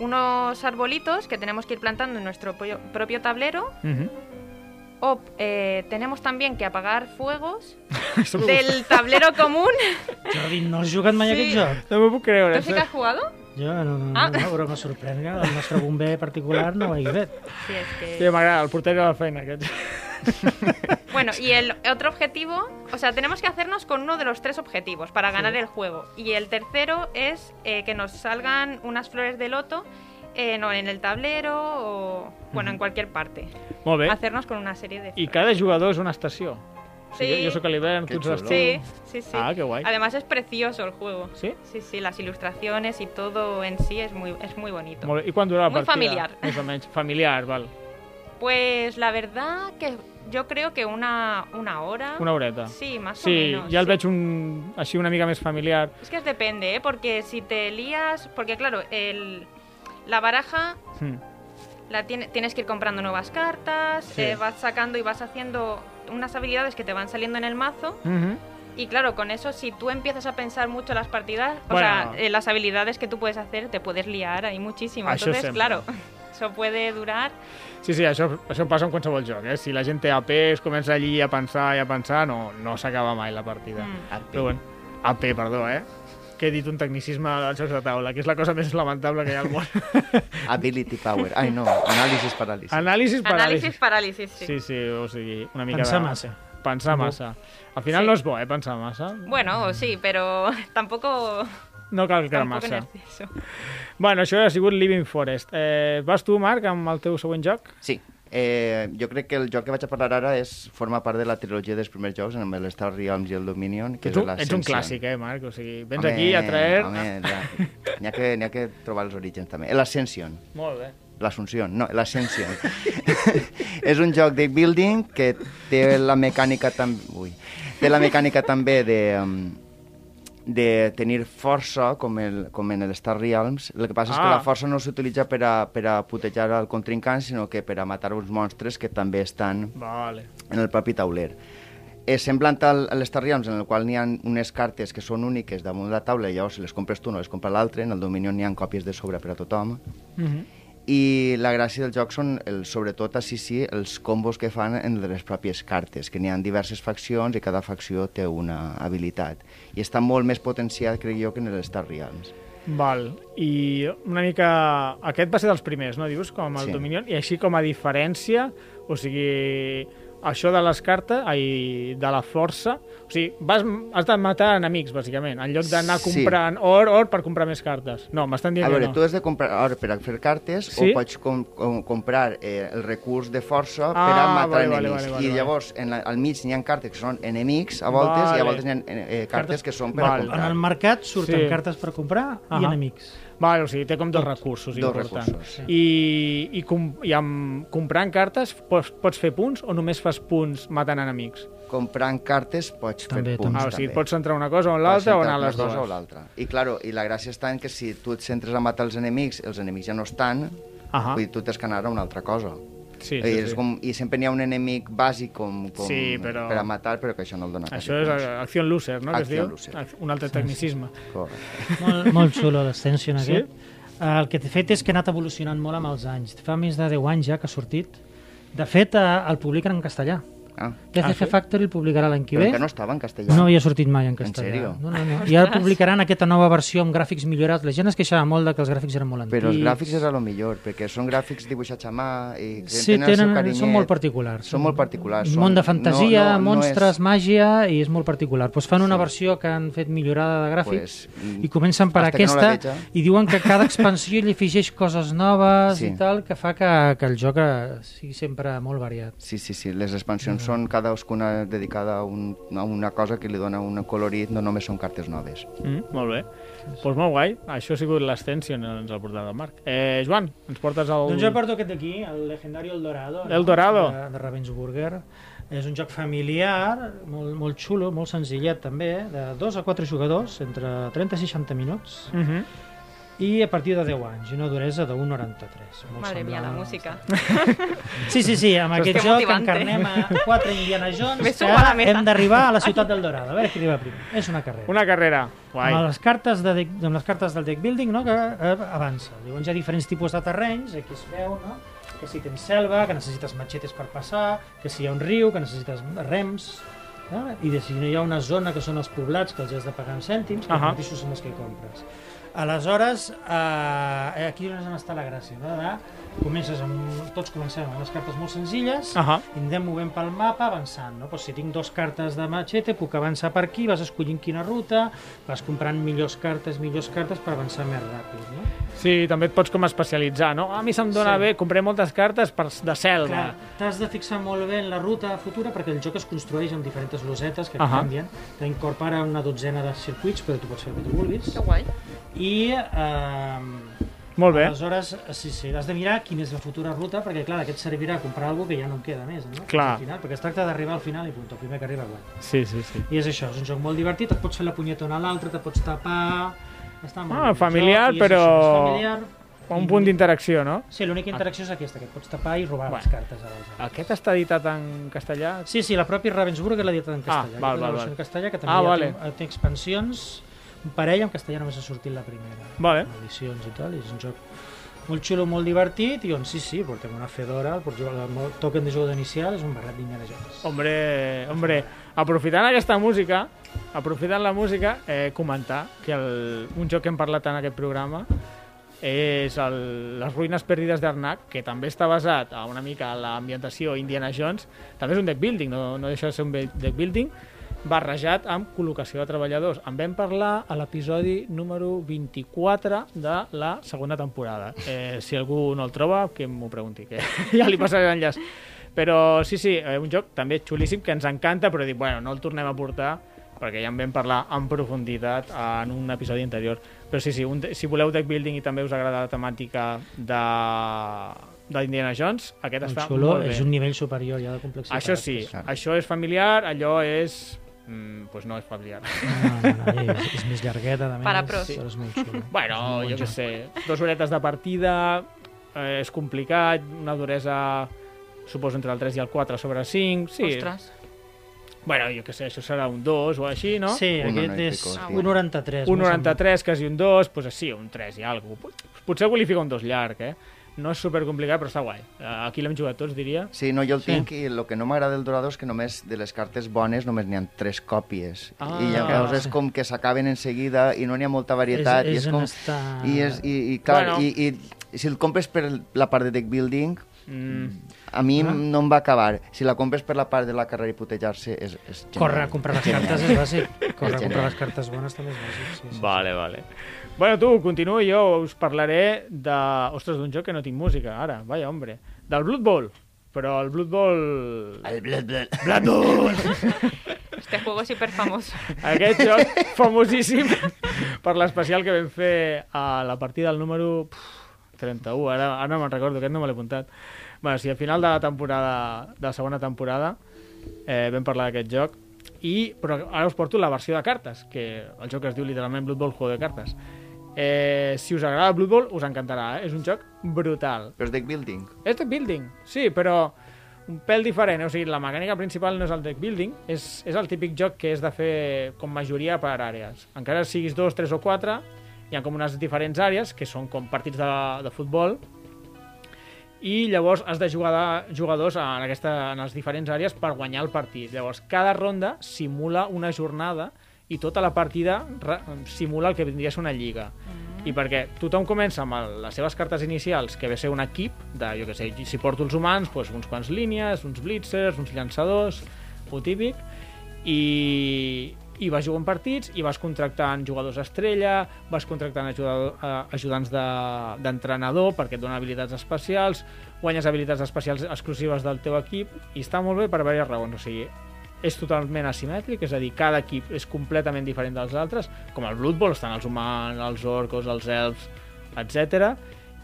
Speaker 4: unos arbolitos que tenemos que ir plantando en nuestro propio- propio tablero
Speaker 1: Uh -huh.
Speaker 4: o eh, tenemos también que apagar fuegos del tablero común.
Speaker 3: Jordi, no has jugat mai a
Speaker 4: Sí.
Speaker 3: aquest joc?
Speaker 1: No m'ho puc creure.
Speaker 4: ¿Tú sí que has jugado?
Speaker 3: Jo, no, no,
Speaker 4: Ah.
Speaker 3: no, no però me sorprèn que el nostre bomber particular no ho hagi fet.
Speaker 4: Sí, es que-
Speaker 1: Sí, m'agrada, el portero de la feina aquest.
Speaker 4: Bueno, y el otro objetivo, o sea, tenemos que hacernos con uno de los tres objetivos para ganar el juego. Y el tercero es eh, que nos salgan unas flores de loto eh, no, en el tablero o, bueno, en cualquier parte.
Speaker 1: Molt bé.
Speaker 4: Hacernos con una serie de...
Speaker 1: I cada jugador és una estació. O sigui,
Speaker 4: Sí.
Speaker 1: Jo sóc a l'hivern, tu
Speaker 2: Que
Speaker 1: ets
Speaker 2: xulo.
Speaker 4: Sí,
Speaker 1: l'estiu.
Speaker 4: sí, sí.
Speaker 1: Ah, qué guay.
Speaker 4: Además es precioso el juego.
Speaker 1: Sí?
Speaker 4: Sí, sí, las ilustraciones y todo en sí es muy, es muy bonito.
Speaker 1: Molt bé. I quan dura la
Speaker 4: Muy
Speaker 1: partida?
Speaker 4: familiar.
Speaker 1: Més o menys. Familiar, val.
Speaker 4: Pues la verdad que yo creo que una, una hora.
Speaker 1: Una horeta.
Speaker 4: Ah, Sí, más o
Speaker 1: sí,
Speaker 4: menos.
Speaker 1: ja el
Speaker 4: sí.
Speaker 1: veig un... així una mica més familiar.
Speaker 4: Es que depende, ¿eh? Porque si te lías. Porque claro, el, la baraja
Speaker 1: Hm.
Speaker 4: la tiene- tienes que ir comprando nuevas cartas,
Speaker 1: Sí.
Speaker 4: eh, vas sacando y vas haciendo unas habilidades que te van saliendo en el mazo.
Speaker 1: Mm -hmm.
Speaker 4: Y claro, con eso, si tú empiezas a pensar mucho las partidas, o
Speaker 1: Bueno.
Speaker 4: sea, eh, las habilidades que tú puedes hacer, te puedes liar ahí muchísimo.
Speaker 1: Això
Speaker 4: Entonces,
Speaker 1: sempre.
Speaker 4: claro, eso puede durar.
Speaker 1: Sí, sí, això, això passa en qualsevol joc, eh? Si la gent té AP, es comença allí a pensar i a pensar, no, no s'acaba mai la partida.
Speaker 4: Mm.
Speaker 1: Però bueno, AP, perdó, eh? Que he dit un tecnicisme dels jocs de taula, que és la cosa més lamentable que hi ha al món.
Speaker 2: Ability power. Ai, no, anàlisis paràlisis.
Speaker 1: Anàlisis paràlisi.
Speaker 4: Análisis parálisis, sí.
Speaker 1: Sí, sí, o sigui, una mica
Speaker 3: Pensar
Speaker 1: de...
Speaker 3: massa.
Speaker 1: Pensar
Speaker 3: No.
Speaker 1: massa. Al final
Speaker 4: Sí.
Speaker 1: no és bo, eh, pensar massa.
Speaker 4: Bueno, sí, pero tampoco
Speaker 1: No cal
Speaker 4: Tampoc en
Speaker 1: cremar-se.
Speaker 4: exceso.
Speaker 1: Bueno, això ha sigut Living Forest. Eh, vas tu, Marc, amb el teu següent joc?
Speaker 2: Sí. Eh, jo crec que el joc que vaig a parlar ara és, forma part de la trilogia dels primers jocs, amb el Star Realms i el Dominion, que
Speaker 1: tu ets
Speaker 2: és
Speaker 1: un
Speaker 2: l'Ascension.
Speaker 1: clàssic, eh, Marc? O sigui, vens
Speaker 2: Home,
Speaker 1: aquí a traer...
Speaker 2: Home, la- n'hi ha, que, n'hi ha que trobar els orígens, també. L'Ascension.
Speaker 1: Molt bé.
Speaker 2: L'Assumpción, no, l'Ascension. és un joc de building que té la mecànica també... Ui. Té la mecànica també de... em, de tenir força, com, el, com en el Star Realms. El que passa ah. és que
Speaker 1: Ah.
Speaker 2: la força no s'utilitza per, a, per a putejar al contrincant, sinó que per a matar uns monstres que també estan
Speaker 1: Vale.
Speaker 2: en el propi tauler. És semblant al, a l'Star Realms, en el qual n'hi ha unes cartes que són úniques damunt la taula, i llavors les compres tu, no les compra l'altre, en el Dominion n'hi ha còpies de sobre per a tothom,
Speaker 1: Mm
Speaker 2: Mhm.
Speaker 1: -hmm.
Speaker 2: i la gràcia del joc són, el, sobretot, a sí sí, els combos que fan en les pròpies cartes, que n'hi ha diverses faccions i cada facció té una habilitat. I està molt més potenciat, crec jo, que en el Star Realms.
Speaker 1: Val, i una mica... Aquest va ser dels primers, no? Dius, com el
Speaker 2: Sí.
Speaker 1: sí. Dominion, i així com a diferència, o sigui, això de les cartes, ai, de la força, o sigui, vas, has de matar enemics, bàsicament, en lloc d'anar
Speaker 2: Sí.
Speaker 1: comprant or, or per comprar més cartes. No, m'estan dient
Speaker 2: A veure,
Speaker 1: que no.
Speaker 2: tu has de comprar or per a fer cartes sí?
Speaker 1: Sí?
Speaker 2: o pots com, com, comprar eh, el recurs de força
Speaker 1: Ah,
Speaker 2: per a matar
Speaker 1: vale, vale,
Speaker 2: enemics.
Speaker 1: vale, vale,
Speaker 2: I
Speaker 1: vale.
Speaker 2: llavors, en la, al mig n'hi ha cartes que són enemics a voltes
Speaker 1: Vale.
Speaker 2: i a voltes n'hi ha eh, eh, cartes que són per
Speaker 1: Vale.
Speaker 2: a
Speaker 3: En
Speaker 2: comprar.
Speaker 3: el mercat surten
Speaker 1: Sí.
Speaker 3: sí. cartes per comprar i
Speaker 1: Ahà.
Speaker 3: enemics.
Speaker 1: Val, o sigui, té com dos recursos
Speaker 2: Dos
Speaker 1: importants.
Speaker 2: recursos, sí.
Speaker 1: I, i, com, i amb, comprant cartes pots, pots fer punts o només fas punts matant enemics?
Speaker 2: Comprant cartes pots
Speaker 3: També,
Speaker 2: fer punts.
Speaker 1: Ah, o
Speaker 2: També.
Speaker 1: sigui, et pots centrar en una cosa o en l'altra o anar a les
Speaker 2: Una
Speaker 1: dues.
Speaker 2: cosa o l'altra. I, claro, I la gràcia està en que si tu et centres a matar els enemics, els enemics ja no estan,
Speaker 1: Ahà.
Speaker 2: vull dir, tu tens que anar a una altra cosa.
Speaker 1: Ah. Sí,
Speaker 2: I,
Speaker 1: sí,
Speaker 2: és
Speaker 1: sí.
Speaker 2: com, I sempre n'hi ha un enemic bàsic com, com
Speaker 1: Sí, però-
Speaker 2: per a matar, però que això no el dona
Speaker 1: Això és eh, Action Loser, no? que es
Speaker 2: Action
Speaker 1: diu?
Speaker 2: Loser.
Speaker 1: Ac- Un altre tecnicisme.
Speaker 2: Correcte.
Speaker 3: Molt, molt xulo l'Ascension
Speaker 1: Sí?
Speaker 3: aquest. Eh, El que he fet és que ha anat evolucionant molt amb els anys. Fa més de 10 anys ja que ha sortit. De fet, eh, el publiquen en castellà.
Speaker 2: Ah,
Speaker 3: TCG
Speaker 1: sí?
Speaker 3: Factory el publicarà l'any que
Speaker 2: però
Speaker 3: ve.
Speaker 2: que no estava en castellà.
Speaker 3: No havia sortit mai en castellà.
Speaker 2: sèrio?
Speaker 3: No, no, no. I ara publicaran aquesta nova versió amb gràfics millorats. La gent es queixava molt de que els gràfics eren molt antics.
Speaker 2: Però els gràfics és a lo millor, perquè són gràfics dibuixats a mà i
Speaker 3: sí,
Speaker 2: el seu
Speaker 3: tenen,
Speaker 2: carinyet.
Speaker 3: són molt particulars.
Speaker 2: Són molt particulars.
Speaker 3: Un
Speaker 2: Són...
Speaker 3: món de fantasia,
Speaker 2: no, no,
Speaker 3: monstres,
Speaker 2: no
Speaker 3: màgia, i és molt particular. Pues fan una versió que han fet millorada de gràfics
Speaker 2: Pues,
Speaker 3: pues,
Speaker 2: mm,
Speaker 3: i comencen per
Speaker 2: hasta que no la
Speaker 3: aquesta
Speaker 2: veja.
Speaker 3: i diuen que cada expansió hi afegeix coses noves
Speaker 2: Sí.
Speaker 3: i tal, que fa que, que el joc eh, sigui sempre molt variat.
Speaker 2: És... Sí, sí, sí. Les expansions
Speaker 1: Ah.
Speaker 2: són cadascuna dedicada a, un, a una cosa que li dona un colorit, no només són cartes noves.
Speaker 1: Mm, molt bé. Doncs pues molt guai. Això ha sigut l'Ascension, ens el portat el Marc. Eh, Joan, ens portes el...
Speaker 3: Doncs jo porto aquest d'aquí, el legendari El Dorado.
Speaker 1: El Dorado.
Speaker 3: De, de Ravensburger. És un joc familiar, molt, molt xulo, molt senzillet també, de 2 a 4 jugadors, entre 30 i 60 minuts,
Speaker 1: Mm -hmm.
Speaker 3: i a partir de 10 anys, i una duresa de 1,93. Molt
Speaker 4: Madre mía, la
Speaker 3: semblant.
Speaker 4: música.
Speaker 3: Sí, sí, sí, amb
Speaker 1: Hòstia,
Speaker 3: aquest
Speaker 4: que
Speaker 3: joc
Speaker 4: motivante.
Speaker 3: encarnem a 4 Indiana Jones
Speaker 4: Me
Speaker 3: que
Speaker 4: subo a la mesa.
Speaker 3: hem d'arribar a la ciutat del Dorado. A veure qui arriba primer. És una carrera.
Speaker 1: Una carrera. Guai.
Speaker 3: Amb les, cartes de deck, amb les cartes del deck building no, que eh, avança. Llavors hi ha diferents tipus de terrenys, aquí es veu, no? que si tens selva, que necessites matxetes per passar, que si hi ha un riu, que necessites rems, no? i de si no hi ha una zona que són els poblats, que els has de pagar amb cèntims, que uh
Speaker 1: Ahà.
Speaker 3: -huh. mateixos són els que compres. Aleshores, eh, aquí és on està la gràcia, no? De, comences amb, un- tots comencem amb unes cartes molt senzilles,
Speaker 1: Ahà.
Speaker 3: i anem movent pel mapa avançant, no? Pues si tinc dos cartes de machete, puc avançar per aquí, vas escollint quina ruta, vas comprant millors cartes, millors cartes per avançar més ràpid, no?
Speaker 1: Sí, també et pots com especialitzar, no? A mi se'm dona
Speaker 3: Sí.
Speaker 1: bé, compraré moltes cartes per, de
Speaker 3: Clar,
Speaker 1: selva.
Speaker 3: t'has de fixar molt bé en la ruta futura perquè el joc es construeix amb diferents losetes que uh
Speaker 1: Ahà.
Speaker 3: -huh. canvien, t'incorpora una dotzena de circuits, però tu pots fer el que tu vulguis,
Speaker 4: Qué guay.
Speaker 3: i... Eh,
Speaker 1: Molt bé.
Speaker 3: Aleshores, sí, sí, has de mirar quina és la futura ruta, perquè clar, aquest servirà a comprar alguna que ja no en queda més, no? Fins
Speaker 1: Clar.
Speaker 3: Al final, perquè es tracta d'arribar al final i punt, el primer que arriba guany.
Speaker 1: Sí, sí, sí.
Speaker 3: I és això, és un joc molt divertit, et pots fer la punyetona a l'altre, te pots tapar... Està molt
Speaker 1: Ah,
Speaker 3: bé el
Speaker 1: familiar,
Speaker 3: joc, i és
Speaker 1: però-
Speaker 3: Això, és familiar.
Speaker 1: Un punt d'interacció, no?
Speaker 3: Sí, l'única interacció és aquesta, que et pots tapar i robar
Speaker 1: Bueno.
Speaker 3: les cartes a l'altre.
Speaker 1: Aquest està editat en castellà?
Speaker 3: Sí, sí, la pròpia Ravensburger l'ha dit en castellà.
Speaker 1: Ah, val,
Speaker 3: Aquesta
Speaker 1: val,
Speaker 3: és la versió
Speaker 1: val.
Speaker 3: En castellà, que també
Speaker 1: Ah,
Speaker 3: ja
Speaker 1: vale.
Speaker 3: té, té expansions, un parell, en castellà només ha sortit la primera.
Speaker 1: Vale.
Speaker 3: Amb Edicions i tal, i és un joc molt xulo, molt divertit, i on sí, sí, portem una fedora, el, porto- el token de jugador inicial és un barret d'Indiana Jones.
Speaker 1: Hombre, hombre, aprofitant aquesta música, aprofitant la música, eh, comentar que el, un joc que hem parlat en aquest programa és el, Les ruïnes perdides d'Arnac, que també està basat a una mica a l'ambientació Indiana Jones. També és un deck building, no, no deixa de ser un be- deck building, barrejat amb col·locació de treballadors. En vam parlar a l'episodi número 24 de la segona temporada. Eh, si algú no el troba, que m'ho pregunti, que ja li passaré l'enllaç. Però sí, sí, eh, un joc també xulíssim que ens encanta, però dic, bueno, no el tornem a portar perquè ja en vam parlar en profunditat en un episodi anterior. Però sí, sí, un, de- si voleu deck building i també us agrada la temàtica de d'Indiana Jones, aquest
Speaker 3: El
Speaker 1: està
Speaker 3: xoló
Speaker 1: molt bé.
Speaker 3: és un nivell superior ja de complexitat.
Speaker 1: Això sí,
Speaker 2: Clar.
Speaker 1: això és familiar, allò és... Mm, pues no és familiar.
Speaker 3: No, no, no, és, és més llargueta, a més.
Speaker 4: Per a pros.
Speaker 3: Però és molt xulo. És
Speaker 1: bueno,
Speaker 3: un
Speaker 1: jo
Speaker 3: bon
Speaker 1: què
Speaker 3: joc.
Speaker 1: sé, dos horetes de partida, eh, és complicat, una duresa suposo entre el 3 i el 4 sobre 5, sí.
Speaker 4: Ostres.
Speaker 1: Bueno, jo què sé, això serà un 2 o així, no?
Speaker 3: Sí,
Speaker 2: Un
Speaker 3: aquest
Speaker 2: noranta i
Speaker 3: és
Speaker 2: picos,
Speaker 4: Ah,
Speaker 2: tio.
Speaker 3: un 93.
Speaker 1: un
Speaker 3: m'ho sembla.
Speaker 1: 93, quasi un 2, pues sí, un 3 i alguna cosa. Potser algú li fica un 2 llarg, eh? No és super complicat, però està guai. Eh, Aquí l'hem jugat tots, diria.
Speaker 2: Sí, no, jo el tinc i el que no m'agrada del Dorado és que només de les cartes bones només n'hi ha tres còpies.
Speaker 1: Ah.
Speaker 2: I llavors és
Speaker 3: Sí.
Speaker 2: com que s'acaben en seguida i no n'hi ha molta varietat.
Speaker 3: És-
Speaker 2: i
Speaker 3: és
Speaker 2: és
Speaker 3: on
Speaker 2: com...
Speaker 3: està-
Speaker 2: I, és, i, i, clar,
Speaker 1: Bueno.
Speaker 2: bueno. i, i si el compres per la part de deck building,
Speaker 1: Mm.
Speaker 2: a mi
Speaker 3: Ah.
Speaker 2: no em va acabar. Si la compres per la part de la carrera i putejar-se, és, és genial.
Speaker 3: Corre a comprar les cartes és bàsic. Corre a
Speaker 2: Genial.
Speaker 3: comprar les cartes bones també és bàsic. Sí, sí, sí.
Speaker 1: Vale, vale. Bueno, tu, continuo i jo, us parlaré de... Ostres, d'un joc que no tinc música, ara, vaya hombre. Del Blood Bowl. Però el Blood Bowl...
Speaker 2: El blet, blet.
Speaker 1: Blood Bowl!
Speaker 4: Este juego es hiper famoso.
Speaker 1: Aquest joc famosíssim per l'especial que vam fer a la partida del número puf, 31. Ara, ara no me'n recordo, aquest no me l'he apuntat. Bé, sí, al final de la temporada, de la segona temporada, eh, vam parlar d'aquest joc. I, però ara us porto la versió de cartes, que el joc es diu literalment Blood Bowl, juego de cartes. Eh, si us agrada Blood Bowl, us encantarà. Eh? És un joc brutal.
Speaker 2: Però és deck building.
Speaker 1: És deck building, sí, però un pèl diferent. O sigui, la mecànica principal no és el deck building, és, és el típic joc que és de fer com majoria per àrees. Encara siguis dos, tres o quatre, hi ha com unes diferents àrees, que són com partits de, de futbol, i llavors has de jugar de jugadors en, aquesta, en les diferents àrees per guanyar el partit. Llavors, cada ronda simula una jornada i tota la partida re- simula el que vindria a ser una lliga. I perquè tothom comença amb el, les seves cartes inicials, que ve a ser un equip, de, jo que sé, si porto els humans, doncs uns quants línies, uns blitzers, uns llançadors, ho típic, i, i vas jugant partits i vas contractant jugadors estrella, vas contractant ajudador, eh, ajudants de- d'entrenador de, perquè et donen habilitats especials, guanyes habilitats especials exclusives del teu equip i està molt bé per diverses raons, o sigui, és totalment asimètric, és a dir, cada equip és completament diferent dels altres, com el Blood Bowl estan els humans, els orcos, els elfs, etc.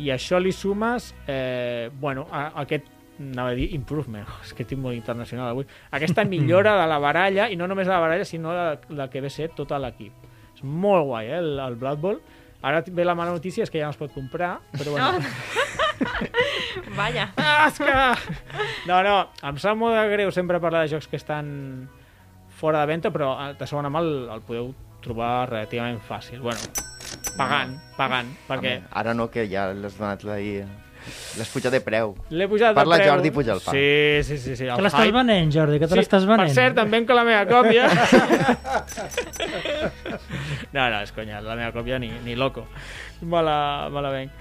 Speaker 1: I això li sumes, eh, bueno, a, a aquest anava a dir improvement, és que estic molt internacional avui, aquesta millora de la baralla, i no només de la baralla, sinó de, la que ve a ser tot l'equip. És molt guai, eh, el, el Blood Bowl. Ara ve la mala notícia, és que ja no es pot comprar, però bueno...
Speaker 4: Vaya.
Speaker 1: Tasca! No, no, em sap molt de greu sempre parlar de jocs que estan fora de venda, però eh, de segona mà el, el podeu trobar relativament fàcil. Bueno, pagant, pagant, perquè
Speaker 2: Home, Ara no, que ja l'has donat la... i- L'has pujat de preu.
Speaker 1: l'he pujat
Speaker 2: Parla
Speaker 1: de preu.
Speaker 2: Jordi Pujalpa.
Speaker 1: Sí, sí, sí. sí el
Speaker 3: Te l'estàs
Speaker 1: hype.
Speaker 3: venent, Jordi, que te
Speaker 1: Sí,
Speaker 3: l'estàs venent.
Speaker 1: Per cert, em venc la meva còpia. no, no, és conya, la meva còpia ni, ni loco. Me la, me la venc.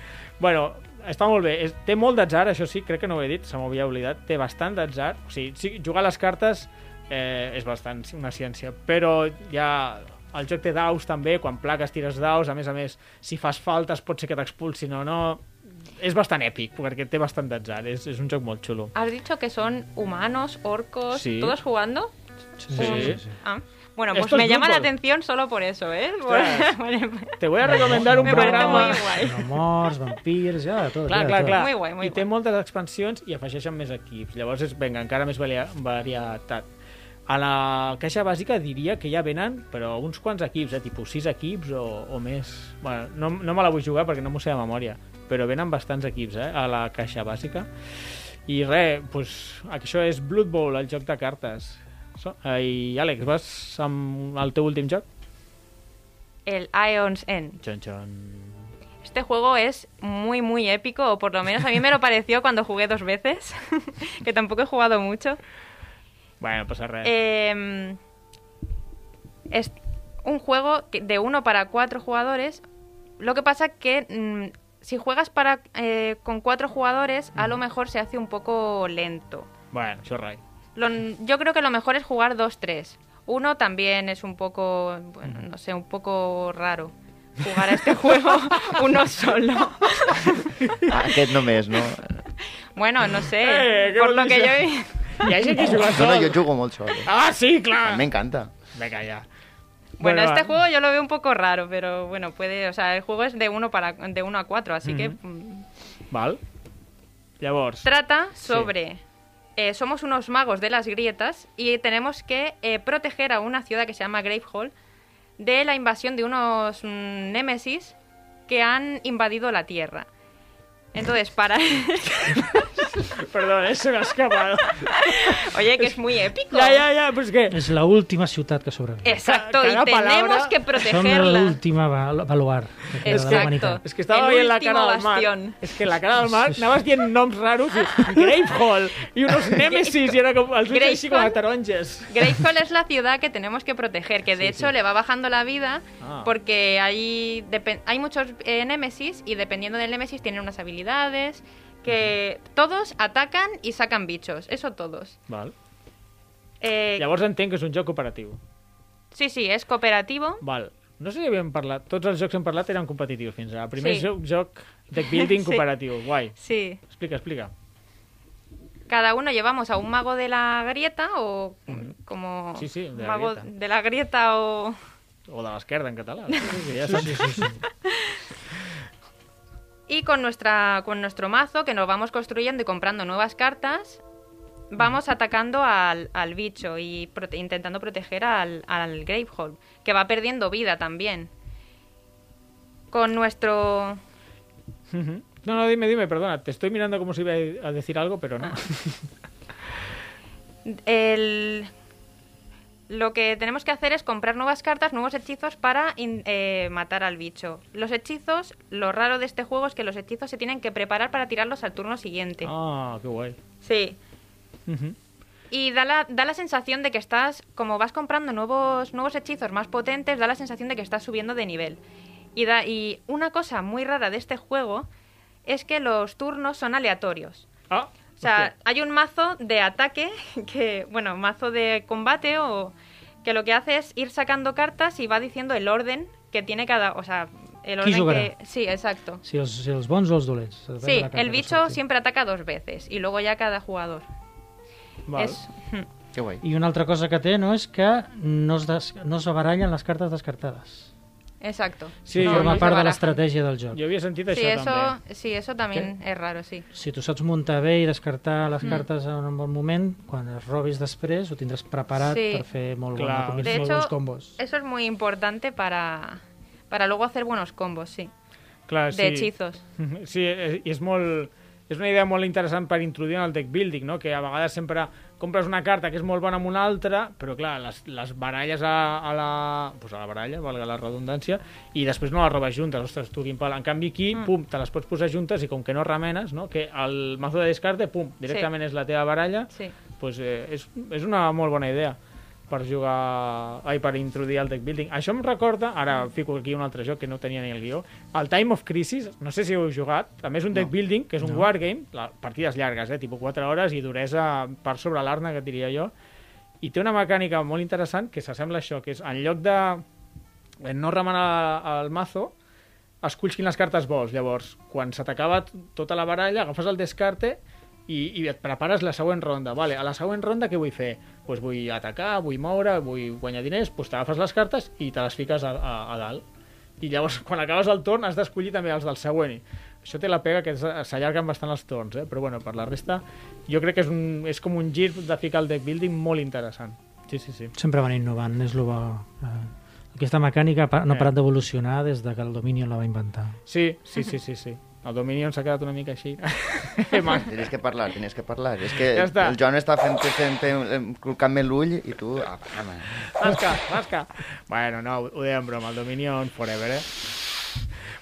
Speaker 1: Bueno, està molt bé. És, té molt d'atzar, això sí, crec que no ho he dit, se m'havia oblidat. Té bastant d'atzar. O sigui, sí, jugar a les cartes eh, és bastant una ciència, però ja el joc té daus també, quan plaques tires daus, a més a més, si fas faltes pot ser que t'expulsin o no, és bastant èpic, perquè té bastant d'atzar, és, és un joc molt xulo.
Speaker 4: ¿Has dicho que son humanos, orcos,
Speaker 1: Sí.
Speaker 4: todos jugando?
Speaker 3: Sí,
Speaker 1: Sí.
Speaker 3: sí, sí.
Speaker 4: Ah, Bueno,
Speaker 1: Esto
Speaker 4: pues
Speaker 1: es
Speaker 4: me llama la
Speaker 1: Blood Bowl.
Speaker 4: atención solo por eso, ¿eh?
Speaker 1: Ostras.
Speaker 4: Por- vale,
Speaker 1: Te voy a recomendar un
Speaker 4: Me parece
Speaker 1: programa...
Speaker 4: muy guay.
Speaker 3: No morts, vampirs, ja, de tot.
Speaker 1: Clar,
Speaker 3: ja, de
Speaker 1: clar,
Speaker 3: tot.
Speaker 1: clar.
Speaker 4: Muy guai, muy
Speaker 1: I té
Speaker 4: guai.
Speaker 1: moltes expansions i afegeixen més equips. Llavors és, venga, encara més varia- varietat. A la caixa bàsica diria que ja venen, però uns quants equips, eh? tipus 6 equips o, o més. Bueno, no, no me la vull jugar perquè no m'ho sé de memòria, però venen bastants equips eh? a la caixa bàsica. I res, doncs, això és Blood Bowl, el joc de cartes. So, eh, I Àlex, vas amb el teu últim joc?
Speaker 4: El Ions End.
Speaker 1: Xon, xon.
Speaker 4: Este juego es muy, muy épico, o por lo menos a mí me lo pareció cuando jugué dos veces, que tampoco he jugado mucho.
Speaker 1: Bueno, passa res.
Speaker 4: Eh, es un juego que- de uno para cuatro jugadores. Lo que pasa que mm, si juegas para, eh, con cuatro jugadores, a lo mejor se hace un poco lento.
Speaker 1: Bueno, això res.
Speaker 4: Lo- yo creo que lo mejor es jugar 2-3. Uno también es un poco, bueno, no sé, un poco raro jugar a este juego uno solo.
Speaker 2: Ah, Aquest només, no?
Speaker 4: Bueno, no sé,
Speaker 1: Eh, qué
Speaker 4: por lo que yo
Speaker 1: bonito.
Speaker 4: he-
Speaker 1: I hi ha gent que juga
Speaker 2: No,
Speaker 1: sol.
Speaker 2: no, jo jugo molt sol. eh?
Speaker 1: Ah, sí, clar.
Speaker 2: M'encanta.
Speaker 1: Vinga, ja.
Speaker 4: Bueno, este
Speaker 1: va.
Speaker 4: juego yo lo veo un poco raro, pero bueno, puede, o sea, el juego es de uno para de uno a cuatro, así que mm,
Speaker 1: Val. Llavors,
Speaker 4: trata sobre eh, somos unos magos de las grietas y tenemos que eh, proteger a una ciudad que se llama Gravehall de la invasión de unos mm, némesis que han invadido la Tierra. Entonces, para
Speaker 1: perdó, eh, se m'ha escapat.
Speaker 4: Oye, que es muy épico.
Speaker 1: Ja, ja, ja, però és que...
Speaker 3: És l'última ciutat que sobreviu.
Speaker 4: Exacto,
Speaker 1: Cada
Speaker 4: y tenemos
Speaker 1: palabra
Speaker 4: que
Speaker 3: Som
Speaker 4: protegerla.
Speaker 3: l'última va- baluar que queda de la
Speaker 4: Exacto.
Speaker 3: humanitat.
Speaker 1: És que estava
Speaker 4: El
Speaker 1: veient la
Speaker 4: último
Speaker 1: cara del Marc.
Speaker 4: bastión.
Speaker 1: És que la cara del Marc, anaves dient noms raros, i Gravehall, i unos Nemesis, i era com els ulls així com a
Speaker 4: Gravehall.
Speaker 1: taronges.
Speaker 4: Gravehall es la ciudad que tenemos que proteger, que de hecho le va bajando la vida
Speaker 1: Ah.
Speaker 4: porque hay, depen- hay muchos eh, némesis y dependiendo del némesis tienen unas habilidades que todos atacan y sacan bichos, eso todos.
Speaker 1: Val.
Speaker 4: Eh,
Speaker 1: Llavors entenc que és un joc cooperatiu.
Speaker 4: sí, sí, es cooperativo.
Speaker 1: Val. No sé si havíem parlat, tots els jocs que hem parlat eren competitius fins ara. Primer
Speaker 4: Sí.
Speaker 1: joc, joc deck building
Speaker 4: Sí.
Speaker 1: cooperatiu, guai.
Speaker 4: Sí.
Speaker 1: Explica, explica.
Speaker 4: Cada uno llevamos a un mago de la grieta o como
Speaker 1: Sí, sí, de la
Speaker 4: mago
Speaker 1: grieta.
Speaker 4: de la grieta o
Speaker 1: O de l'esquerda en català. Sí, sí, ja sí, sí, sí.
Speaker 4: Y con, nuestra, con nuestro mazo que nos vamos construyendo y comprando nuevas cartas, vamos atacando al, al bicho y prote- intentando proteger al, al Gravehold, que va perdiendo vida también. Con nuestro...
Speaker 1: Ujú. No, no, dime, dime, perdona. Te estoy mirando como si iba a decir algo, pero
Speaker 4: Ah,
Speaker 1: no.
Speaker 4: El, lo que tenemos que hacer es comprar nuevas cartas, nuevos hechizos para in- eh, matar al bicho. Los hechizos, lo raro de este juego es que los hechizos se tienen que preparar para tirarlos al turno siguiente.
Speaker 1: Ah, qué guay.
Speaker 4: Sí.
Speaker 1: Ujú.
Speaker 4: Y da la, da la sensación de que estás, como vas comprando nuevos, nuevos hechizos más potentes, da la sensación de que estás subiendo de nivel. Y, da, y una cosa muy rara de este juego es que los turnos son aleatorios.
Speaker 1: Ah,
Speaker 4: O sea,
Speaker 1: hostia.
Speaker 4: hay un mazo de ataque, que, bueno, mazo de combate, o que lo que hace es ir sacando cartas y va diciendo el orden que tiene cada. O sea, el
Speaker 3: Qui
Speaker 4: orden
Speaker 3: jugarà?
Speaker 4: que. Sí, exacto.
Speaker 3: Si els, si els bons o els dolents. Depèn de
Speaker 4: Sí,
Speaker 3: la carta
Speaker 4: el
Speaker 3: que
Speaker 4: bicho
Speaker 3: surti.
Speaker 4: siempre ataca dos veces y luego ya cada jugador.
Speaker 1: Val.
Speaker 4: Es,
Speaker 2: Que guai.
Speaker 3: I una altra cosa que té no és que no es, des... no es barallen les cartes descartades.
Speaker 4: Exacto.
Speaker 1: Sí,
Speaker 3: no,
Speaker 1: no,
Speaker 3: forma
Speaker 1: no
Speaker 3: part de
Speaker 4: barajan.
Speaker 3: l'estratègia del joc.
Speaker 1: Jo havia sentit
Speaker 4: Sí,
Speaker 1: això
Speaker 4: eso,
Speaker 1: també.
Speaker 4: sí, eso también es raro, sí.
Speaker 3: Si tu saps muntar bé i descartar
Speaker 1: Mm.
Speaker 3: les cartes en un bon moment, quan es robis després ho tindràs preparat
Speaker 4: Sí.
Speaker 3: per fer molt,
Speaker 1: Clar.
Speaker 3: bona, combi-
Speaker 4: De
Speaker 3: molt
Speaker 4: hecho,
Speaker 3: bons combos.
Speaker 4: Eso es muy importante para, para luego hacer buenos combos, sí.
Speaker 3: Ah,
Speaker 1: Clar,
Speaker 4: De hechizos.
Speaker 1: Sí, eh, i és molt... És una idea molt interessant per introduir en el deck building, no? que a vegades sempre compres una carta que és molt bona amb una altra, però clar, les, les baralles a, a, la, pues a la baralla, valga la redundància, i després no les robes juntes. Ostres, tu, quin pal. En canvi aquí, pum, te les pots posar juntes i com que no remenes, no? que el mazo de descarte, pum, directament és la teva baralla,
Speaker 4: Sí.
Speaker 1: pues, eh, és, és una molt bona idea per jugar... Ai, per introduir el deck building. Això em recorda, ara fico aquí un altre joc que no tenia ni el guió, el Time of Crisis, no sé si ho heu jugat, també és un deck building, que és un wargame, la, partides llargues, eh, tipus 4 hores i duresa per sobre l'arna, que et diria jo, i té una mecànica molt interessant que s'assembla a això, que és en lloc de eh, no remenar el mazo, esculls quines cartes vols. Llavors, quan s'atacava t- tota la baralla, agafes el descarte i, i et prepares la següent ronda. Vale, a la següent ronda què vull fer? Pues vull atacar, vull moure, vull guanyar diners, pues t'agafes les cartes i te les fiques a, a, a dalt. I llavors, quan acabes el torn, has d'escollir també els del següent. Això té la pega que s- s'allarguen bastant els torns, eh? però bueno, per la resta, jo crec que és, un, és com un gir de ficar el deck building molt interessant. Sí, sí, sí.
Speaker 3: Sempre van innovant, és el bo. Eh, aquesta mecànica pa- no
Speaker 1: Eh.
Speaker 3: ha parat d'evolucionar des de que el Dominion la va inventar.
Speaker 1: Sí, sí, sí, sí, sí. El Dominion s'ha quedat una mica així. Man.
Speaker 2: Tenies que parlar, tenies que parlar. És que
Speaker 1: Ja està.
Speaker 2: el Joan està fent, fent, fent col·locant-me l'ull i tu... Ah, home.
Speaker 1: Masca, masca. Bueno, no, ho deia en broma, el Dominion forever, eh?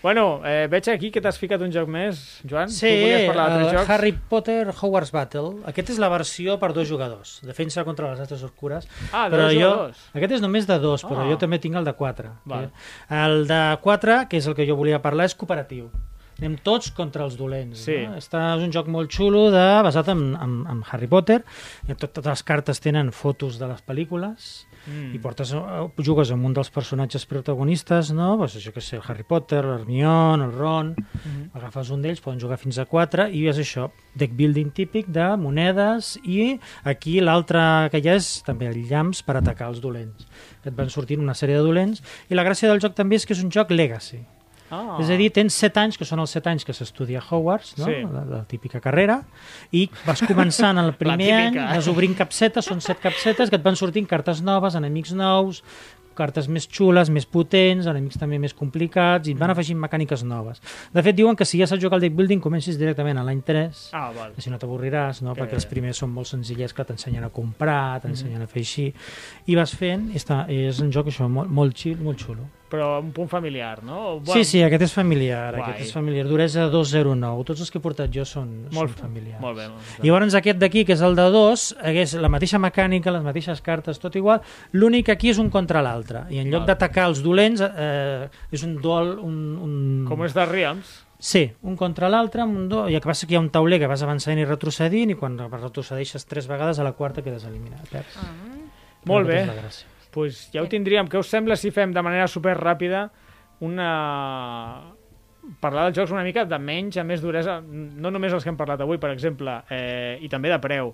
Speaker 1: Bueno, eh, veig aquí que t'has ficat un joc més, Joan.
Speaker 3: Sí,
Speaker 1: tu volies parlar d'altres
Speaker 3: el
Speaker 1: jocs.
Speaker 3: Harry Potter Hogwarts Battle. Aquest és la versió per dos jugadors. Defensa contra les altres oscures.
Speaker 1: Ah, de
Speaker 3: però
Speaker 1: dos
Speaker 3: jo,
Speaker 1: jugadors.
Speaker 3: Aquest és només de dos, però
Speaker 1: Ah.
Speaker 3: jo també tinc el de quatre.
Speaker 1: Val.
Speaker 3: El de quatre, que és el que jo volia parlar, és cooperatiu. anem tots contra els dolents.
Speaker 1: Sí.
Speaker 3: No? Doncs, ah, Està, és un joc molt xulo de, basat en, en, en Harry Potter. I tot, totes les cartes tenen fotos de les pel·lícules
Speaker 1: Mm.
Speaker 3: i portes, eh, jugues amb un dels personatges protagonistes, no? Pues, això que sé, el Harry Potter, l'Hermione, el Ron...
Speaker 1: Mhm.
Speaker 3: Agafes un d'ells, poden jugar fins a 4 i és això, deck building típic de monedes i aquí l'altre que hi ha és també el llamps per atacar els dolents. Et van sortint una sèrie de dolents i la gràcia del joc també és que és un joc legacy.
Speaker 1: Ah.
Speaker 3: És a dir, tens 7 anys, que són els 7 anys que s'estudia a Hogwarts, no?
Speaker 1: Sí.
Speaker 3: la, la típica carrera, i vas començant el primer any,
Speaker 1: típica.
Speaker 3: vas obrint capsetes, són 7 capsetes, que et van sortint cartes noves, enemics nous, cartes més xules, més potents, enemics també més complicats,
Speaker 1: Mm.
Speaker 3: i et van afegint mecàniques noves. De fet, diuen que si ja saps jugar al deck building, comencis directament a l'any 3,
Speaker 1: Ah, val.
Speaker 3: així no t'avorriràs, no?
Speaker 1: Que- Mm.
Speaker 3: perquè els primers són molt senzillets, que t'ensenyen a comprar, t'ensenyen a fer així, i vas fent, i està, és un joc això, molt, molt, xil, molt xulo.
Speaker 1: Però un punt familiar, no?
Speaker 3: Sí, sí, aquest és familiar,
Speaker 1: Guai.
Speaker 3: aquest és familiar. Duresa 209. Tots els que he portat jo són,
Speaker 1: Molt
Speaker 3: són familiars.
Speaker 1: Molt bé.
Speaker 3: I llavors aquest d'aquí, que és el de 2, hagués la mateixa mecànica, les mateixes cartes, tot igual. L'únic aquí és un contra l'altre. I en lloc
Speaker 1: Val.
Speaker 3: d'atacar els dolents, eh, és un duel... Un, un...
Speaker 1: Com és de Realms?
Speaker 3: Sí, un contra l'altre, amb un duel. I el que passa és que hi ha un tauler que vas avançant i retrocedint, i quan retrocedeixes tres vegades, a la quarta quedes eliminat. perds.
Speaker 1: Ah. Molt
Speaker 3: Aquesta
Speaker 1: bé.
Speaker 3: és la gràcia.
Speaker 1: pues ja ho tindríem. Què us sembla si fem de manera super ràpida una... parlar dels jocs una mica de menys, a més duresa, no només els que hem parlat avui, per exemple, eh, i també de preu.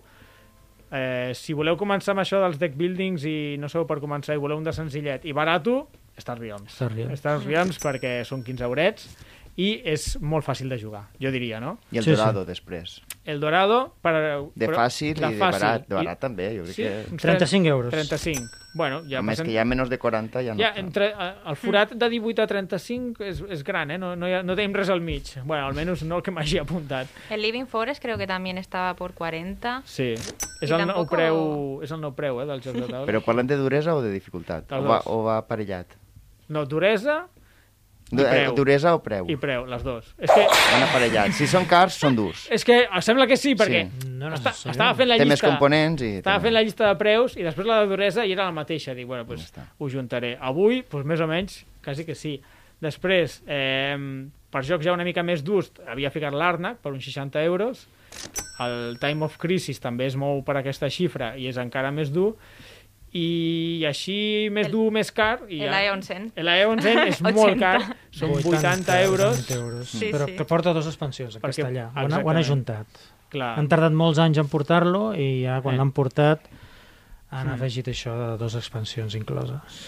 Speaker 1: Eh, si voleu començar amb això dels deck buildings i no sabeu per començar i voleu un de senzillet i barato, Star Realms.
Speaker 3: Star Realms.
Speaker 1: Star Realms perquè són 15 eurets i és molt fàcil de jugar, jo diria, no?
Speaker 2: I el
Speaker 3: Sí, sí.
Speaker 2: Dorado, després.
Speaker 1: El Dorado... Per,
Speaker 2: De
Speaker 1: però-
Speaker 2: fàcil i de barat. De
Speaker 1: I-
Speaker 2: barat també, jo crec
Speaker 1: Sí,
Speaker 2: que...
Speaker 1: uns
Speaker 3: 35 euros.
Speaker 1: 35. Bueno, ja
Speaker 2: Ja a més
Speaker 1: passen-
Speaker 2: que hi ha menys de 40, ja no...
Speaker 1: ja, entre, eh, el forat de 18 a 35 és, és gran, eh? No, no, hi ha, no tenim res al mig. bueno, almenys no el que m'hagi apuntat.
Speaker 4: El Living Forest creo que también estaba por 40.
Speaker 1: Sí. És
Speaker 4: I
Speaker 1: el, nou
Speaker 4: tampoc-
Speaker 1: preu, és el nou preu, eh, del joc de taula.
Speaker 2: Però parlem de duresa o de dificultat?
Speaker 1: Els
Speaker 2: O va,
Speaker 1: dos.
Speaker 2: o va aparellat?
Speaker 1: No, duresa I
Speaker 2: Du- eh,
Speaker 1: preu.
Speaker 2: Duresa o preu?
Speaker 1: i preu, les dos. És que,
Speaker 2: Van aparellats. Si són cars, són durs.
Speaker 1: és que em sembla que sí, perquè
Speaker 2: Sí.
Speaker 3: No
Speaker 1: està,
Speaker 3: necessàriament.
Speaker 1: estava fent la
Speaker 2: Té més
Speaker 1: llista...
Speaker 2: components i...
Speaker 1: Estava fent la llista de preus i després la de duresa i era la mateixa. Dic, bueno, doncs
Speaker 2: Ja està.
Speaker 1: ho juntaré. Avui, doncs més o menys, quasi que sí. Després, eh, per jocs ja una mica més durs, havia ficat l'Arnac per uns 60 euros. El Time of Crisis també es mou per aquesta xifra i és encara més dur. I així, més
Speaker 4: El-
Speaker 1: dur, més car. I
Speaker 4: el Aeon Zen.
Speaker 1: El Aeon Zen és molt
Speaker 4: 80.
Speaker 1: car, són 80, euros.
Speaker 3: 80 euros. Mm.
Speaker 4: Sí,
Speaker 3: però
Speaker 4: sí.
Speaker 3: que porta dues expansions en
Speaker 1: Perquè-
Speaker 3: castellà. Ho han, ho han
Speaker 1: exactament.
Speaker 3: ajuntat.
Speaker 1: Clar.
Speaker 3: Han tardat molts anys en portar-lo i ja quan
Speaker 1: Eh. Mm.
Speaker 3: l'han portat han afegit això de dues expansions incloses.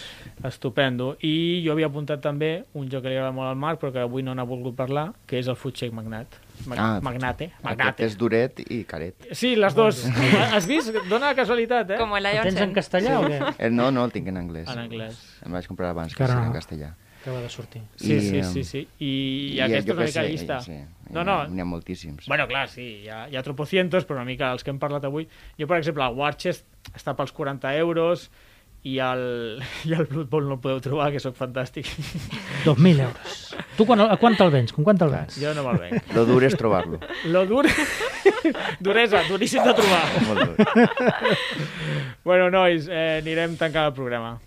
Speaker 1: Estupendo. I jo havia apuntat també un joc que li agrada molt al Marc, però que avui no n'ha volgut parlar, que és el Food Shake Magnat. Mag
Speaker 2: Ah.
Speaker 1: Magnate.
Speaker 2: Aquest
Speaker 1: Magnate.
Speaker 2: és duret i caret.
Speaker 1: Sí, les dos. Has vist? Dona la casualitat, eh?
Speaker 4: Como el
Speaker 3: El
Speaker 4: Aeon
Speaker 3: tens en
Speaker 4: Zen.
Speaker 3: castellà o què?
Speaker 2: Eh, no, no el tinc en anglès.
Speaker 1: En anglès.
Speaker 2: Em vaig comprar abans que
Speaker 3: Encara
Speaker 2: era en
Speaker 3: no.
Speaker 2: castellà.
Speaker 3: Acaba de sortir.
Speaker 1: Sí,
Speaker 2: I,
Speaker 1: sí,
Speaker 2: eh,
Speaker 1: sí, sí. I,
Speaker 2: I
Speaker 1: I aquesta
Speaker 2: jo
Speaker 1: és una
Speaker 2: què
Speaker 1: mica
Speaker 2: sé,
Speaker 1: llista.
Speaker 2: Sí,
Speaker 1: No, no.
Speaker 2: N'hi ha moltíssims.
Speaker 1: Bueno, clar, sí, hi ha, hi ha tropocientos, però una mica els que hem parlat avui. Jo, per exemple, el Warchest està pels 40 euros i el, i el Blood Bowl no el podeu trobar, que sóc fantàstic.
Speaker 3: 2.000 euros. Tu quan, a quant te'l vens? Com quant te'l vens?
Speaker 1: Jo no me'l venc.
Speaker 2: Lo dur és trobar-lo.
Speaker 1: Lo dur... Duresa, duríssim de trobar.
Speaker 2: Molt dur.
Speaker 1: Bueno, nois, eh, anirem tancant el programa.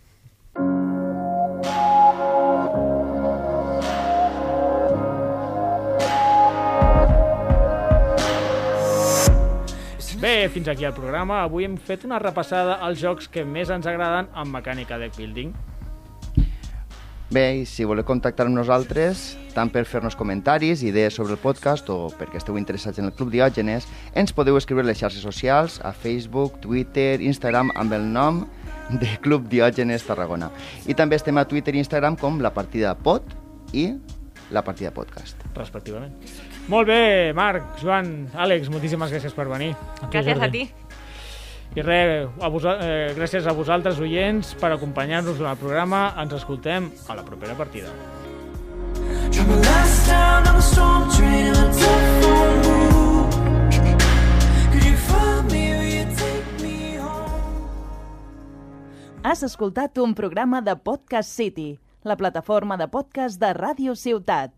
Speaker 1: Bé, fins aquí el programa. Avui hem fet una repassada als jocs que més ens agraden en mecànica de building.
Speaker 2: Bé, i si voleu contactar amb nosaltres, tant per fer-nos comentaris, idees sobre el podcast o perquè esteu interessats en el Club Diògenes, ens podeu escriure a les xarxes socials, a Facebook, Twitter, Instagram, amb el nom de Club Diògenes Tarragona. I també estem a Twitter i Instagram com La Partida Pod i La Partida Podcast.
Speaker 1: respectivament. Molt bé, Marc, Joan, Àlex, moltíssimes gràcies per venir.
Speaker 3: tu,
Speaker 4: Gracias a
Speaker 3: Jordi.
Speaker 4: ti.
Speaker 1: I res, a vosa- eh, gràcies a vosaltres, oients, per acompanyar-nos en el programa. Ens escoltem a la propera partida.
Speaker 5: Trouble last time on a storm train on a telephone booth. Could you find me? Will you take me home?
Speaker 6: Has escoltat un programa de Podcast City, la plataforma de podcast de Ràdio Ciutat.